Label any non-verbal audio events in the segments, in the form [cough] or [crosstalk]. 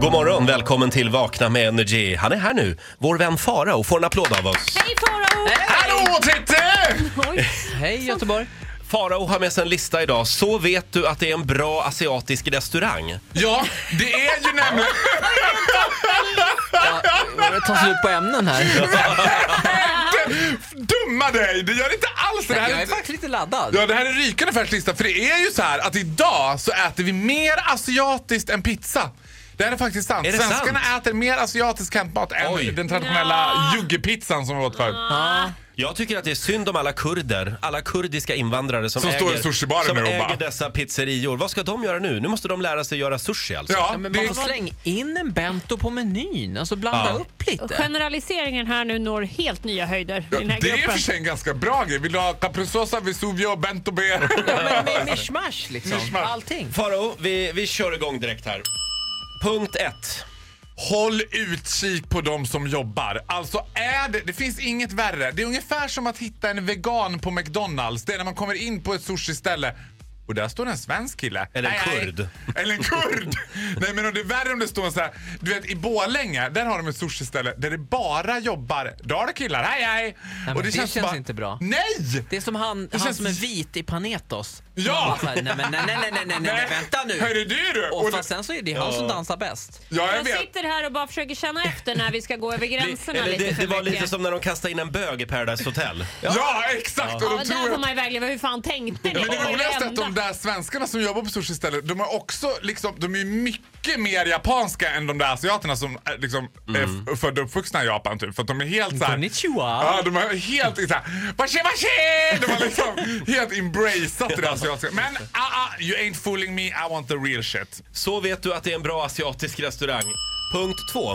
God morgon, välkommen till Vakna med Energy. Han är här nu, vår vän Farao får en applåd av oss. Hej Farao! Hallå Titte! Oj, Hej Göteborg! Farao har med sig en lista idag. Så vet du att det är en bra asiatisk restaurang. Ja, det är ju nämligen... Det tar slut på ämnen här. Dumma dig! Det gör inte alls det. det. Här Jag är är... faktiskt lite laddad. Ja, det här är en rykande färsk lista. För det är ju så här att idag så äter vi mer asiatiskt än pizza. Det här är faktiskt sant. Är det Svenskarna äter mer asiatisk hämtmat än Oj. den traditionella juggepizzan som vi åt förut. Jag tycker att det är synd om alla kurder, alla kurdiska invandrare som, Som äger, står i sushibaren som nu och äger bara- dessa pizzerior. Vad ska de göra nu? Nu måste de lära sig göra sushi alltså. Ja, Ja, men det bara är... släng in en bento på menyn, alltså blanda Ja. upp lite. generaliseringen här nu når helt nya höjder i den här Det är i och gruppen. för sig en ganska bra grej. Vill du ha capricciosa, vesuvio, bento bear? Ja, men med mishmash liksom, Mishmash. allting. Farao, vi, vi kör igång direkt här. Punkt ett. Håll utkik på de som jobbar. Alltså är det, det finns inget värre. Det är ungefär som att hitta en vegan på McDonalds. Det är när man kommer in på ett sushiställe och där står det en svensk kille. Eller en Nej, kurd. Nej. [laughs] Eller en kurd! nej men om det är värre om det står en så här. Du vet i Borlänge, där har de ett sushiställe där det bara jobbar dalakillar. Hej hej! men det känns inte bra. Nej! Det är som han, han känns- som är vit i Panetos. Ja! Han bara så här, Nej, men nej, nej, nej, nej, nej, nej, vänta nu. Hörru du du! Och det- fast sen så är det han som dansar bäst. ja, jag Jag vet. sitter här och bara försöker känna efter när vi ska gå över gränserna Eller lite det, för det var mycket. lite som när de kastade in en bög i Paradise Hotel. Ja, exakt! Och Ja, då där tror jag får att- man ju vägleva. Hur fan tänkte ni? Men Vad det var roligaste är att de enda? där svenskarna som jobbar på sushiställen, de är också liksom, de är mycket mer japanska än de där asiaterna som är, liksom, är f- födda och uppvuxna i Japan typ. För att de är helt såhär... Konnichiwa! Ja, de är helt såhär... Washi washi! De har liksom helt embraceat det där asiatiska. Men ah, ah, you ain't fooling me, I want the real shit. Så vet du att det är en bra asiatisk restaurang. Punkt två.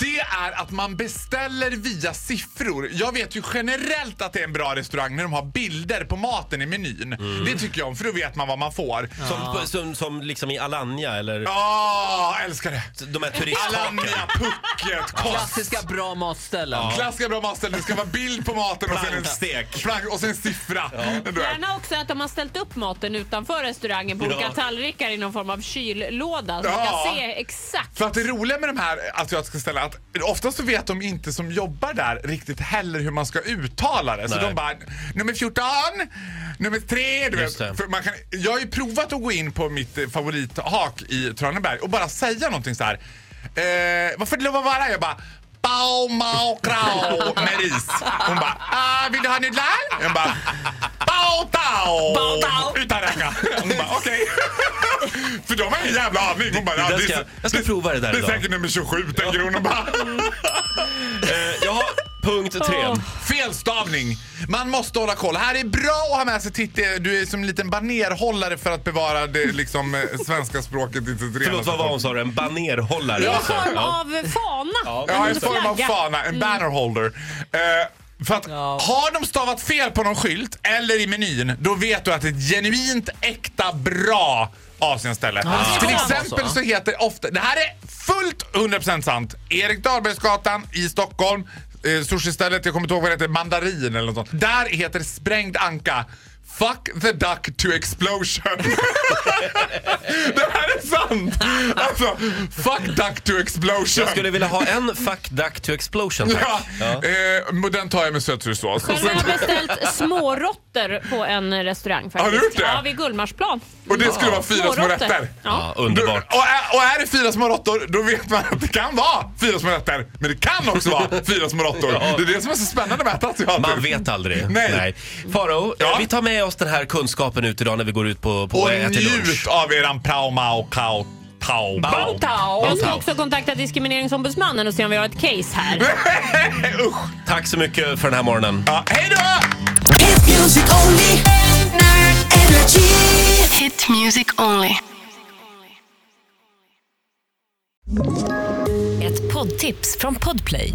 Det är att man beställer via siffror. Jag vet ju generellt att det är en bra restaurang när de har bilder på maten i menyn. Det tycker jag om, för då vet man vad man får. Som, som, som liksom i Alanya eller Ja, älskar det! de här turistkakorna. Alanya, pucket, kost. Klassiska bra matställen. Klassiska bra matställen. Det ska vara bild på maten och sen en Plankstek. Plank och sen siffra. Du vet. Gärna också att de har ställt upp maten utanför restaurangen på Ja. olika tallrikar i någon form av kyllåda. Så man Ja. kan se exakt. För att det roliga med de här asiatiska ställena att oftast så vet de inte som jobbar där riktigt heller hur man ska uttala det. Så Nej. de bara nummer 14, nummer 3, du vet. Just det. För man kan, jag har ju provat att gå in på mitt eh, favorithak i Traneberg och bara säga någonting så här. Eh, varför det var vara? Jag bara Bao mao krao med ris. Hon bara, ah, vill du ha nudlar? Jag bara, bao tao. Bao tao. Utan räka. Hon bara, okej. [laughs] För de har ingen jävla aning. Hon bara, Det ja, där det är ska- så- jag ska prova det där Det är idag. säkert nummer 27, tänker hon och bara. [laughs] Eh, jaha, punkt tre. Åh. Felstavning! Man måste hålla koll. Här är bra att ha med sig Titti. Du är som en liten banerhållare för att bevara det liksom, eh, svenska språket i sitt Förlåt, vad var hon sa du? En banerhållare? En alltså. form Ja. av fana. Ja, en form av flagga. fana. En bannerholder. Eh, för att Mm. Ja. har de stavat fel på någon skylt eller i menyn, då vet du att det är ett genuint, äkta, bra Asienställe. det ska Till vara så, exempel så va? heter ofta, det här är fullt 100% sant, Erik Dahlbergsgatan i Stockholm, eh, sushistället, jag kommer inte ihåg vad det heter, Mandarin eller något sånt. Där heter sprängd anka Fuck the duck to explosion. [laughs] det här är sant! Alltså, fuck duck to explosion. Jag skulle vilja ha en fuck duck to explosion Ja. tack. Ja. Eh, men den tar jag med sötsursås. Och, Själv har sen- jag beställt småråttor på en restaurang. Faktiskt. Har du gjort det? Ja, vid Gullmarsplan. och det skulle vara fyra små rätter. Ja. Ja, Du, och, underbart. är, och är det fyra små råttor, då vet man att det kan vara fyra små rätter. Men det kan också vara fyra små råttor. Ja. Det är det som är så spännande med att äta asiatiskt. Man vet aldrig. Nej. Faro, Ja. vi tar med oss den här kunskapen ut idag när vi går ut på, på Och och äter njut lunch. av eran prao mao kao tao bao. Jag ska också kontakta Diskrimineringsombudsmannen och se om vi har ett case här. Eh, Usch. Tack så mycket för den här morgonen. Ja, hej då! Hit music only. Energy. Hit music only. Ett poddtips från Podplay.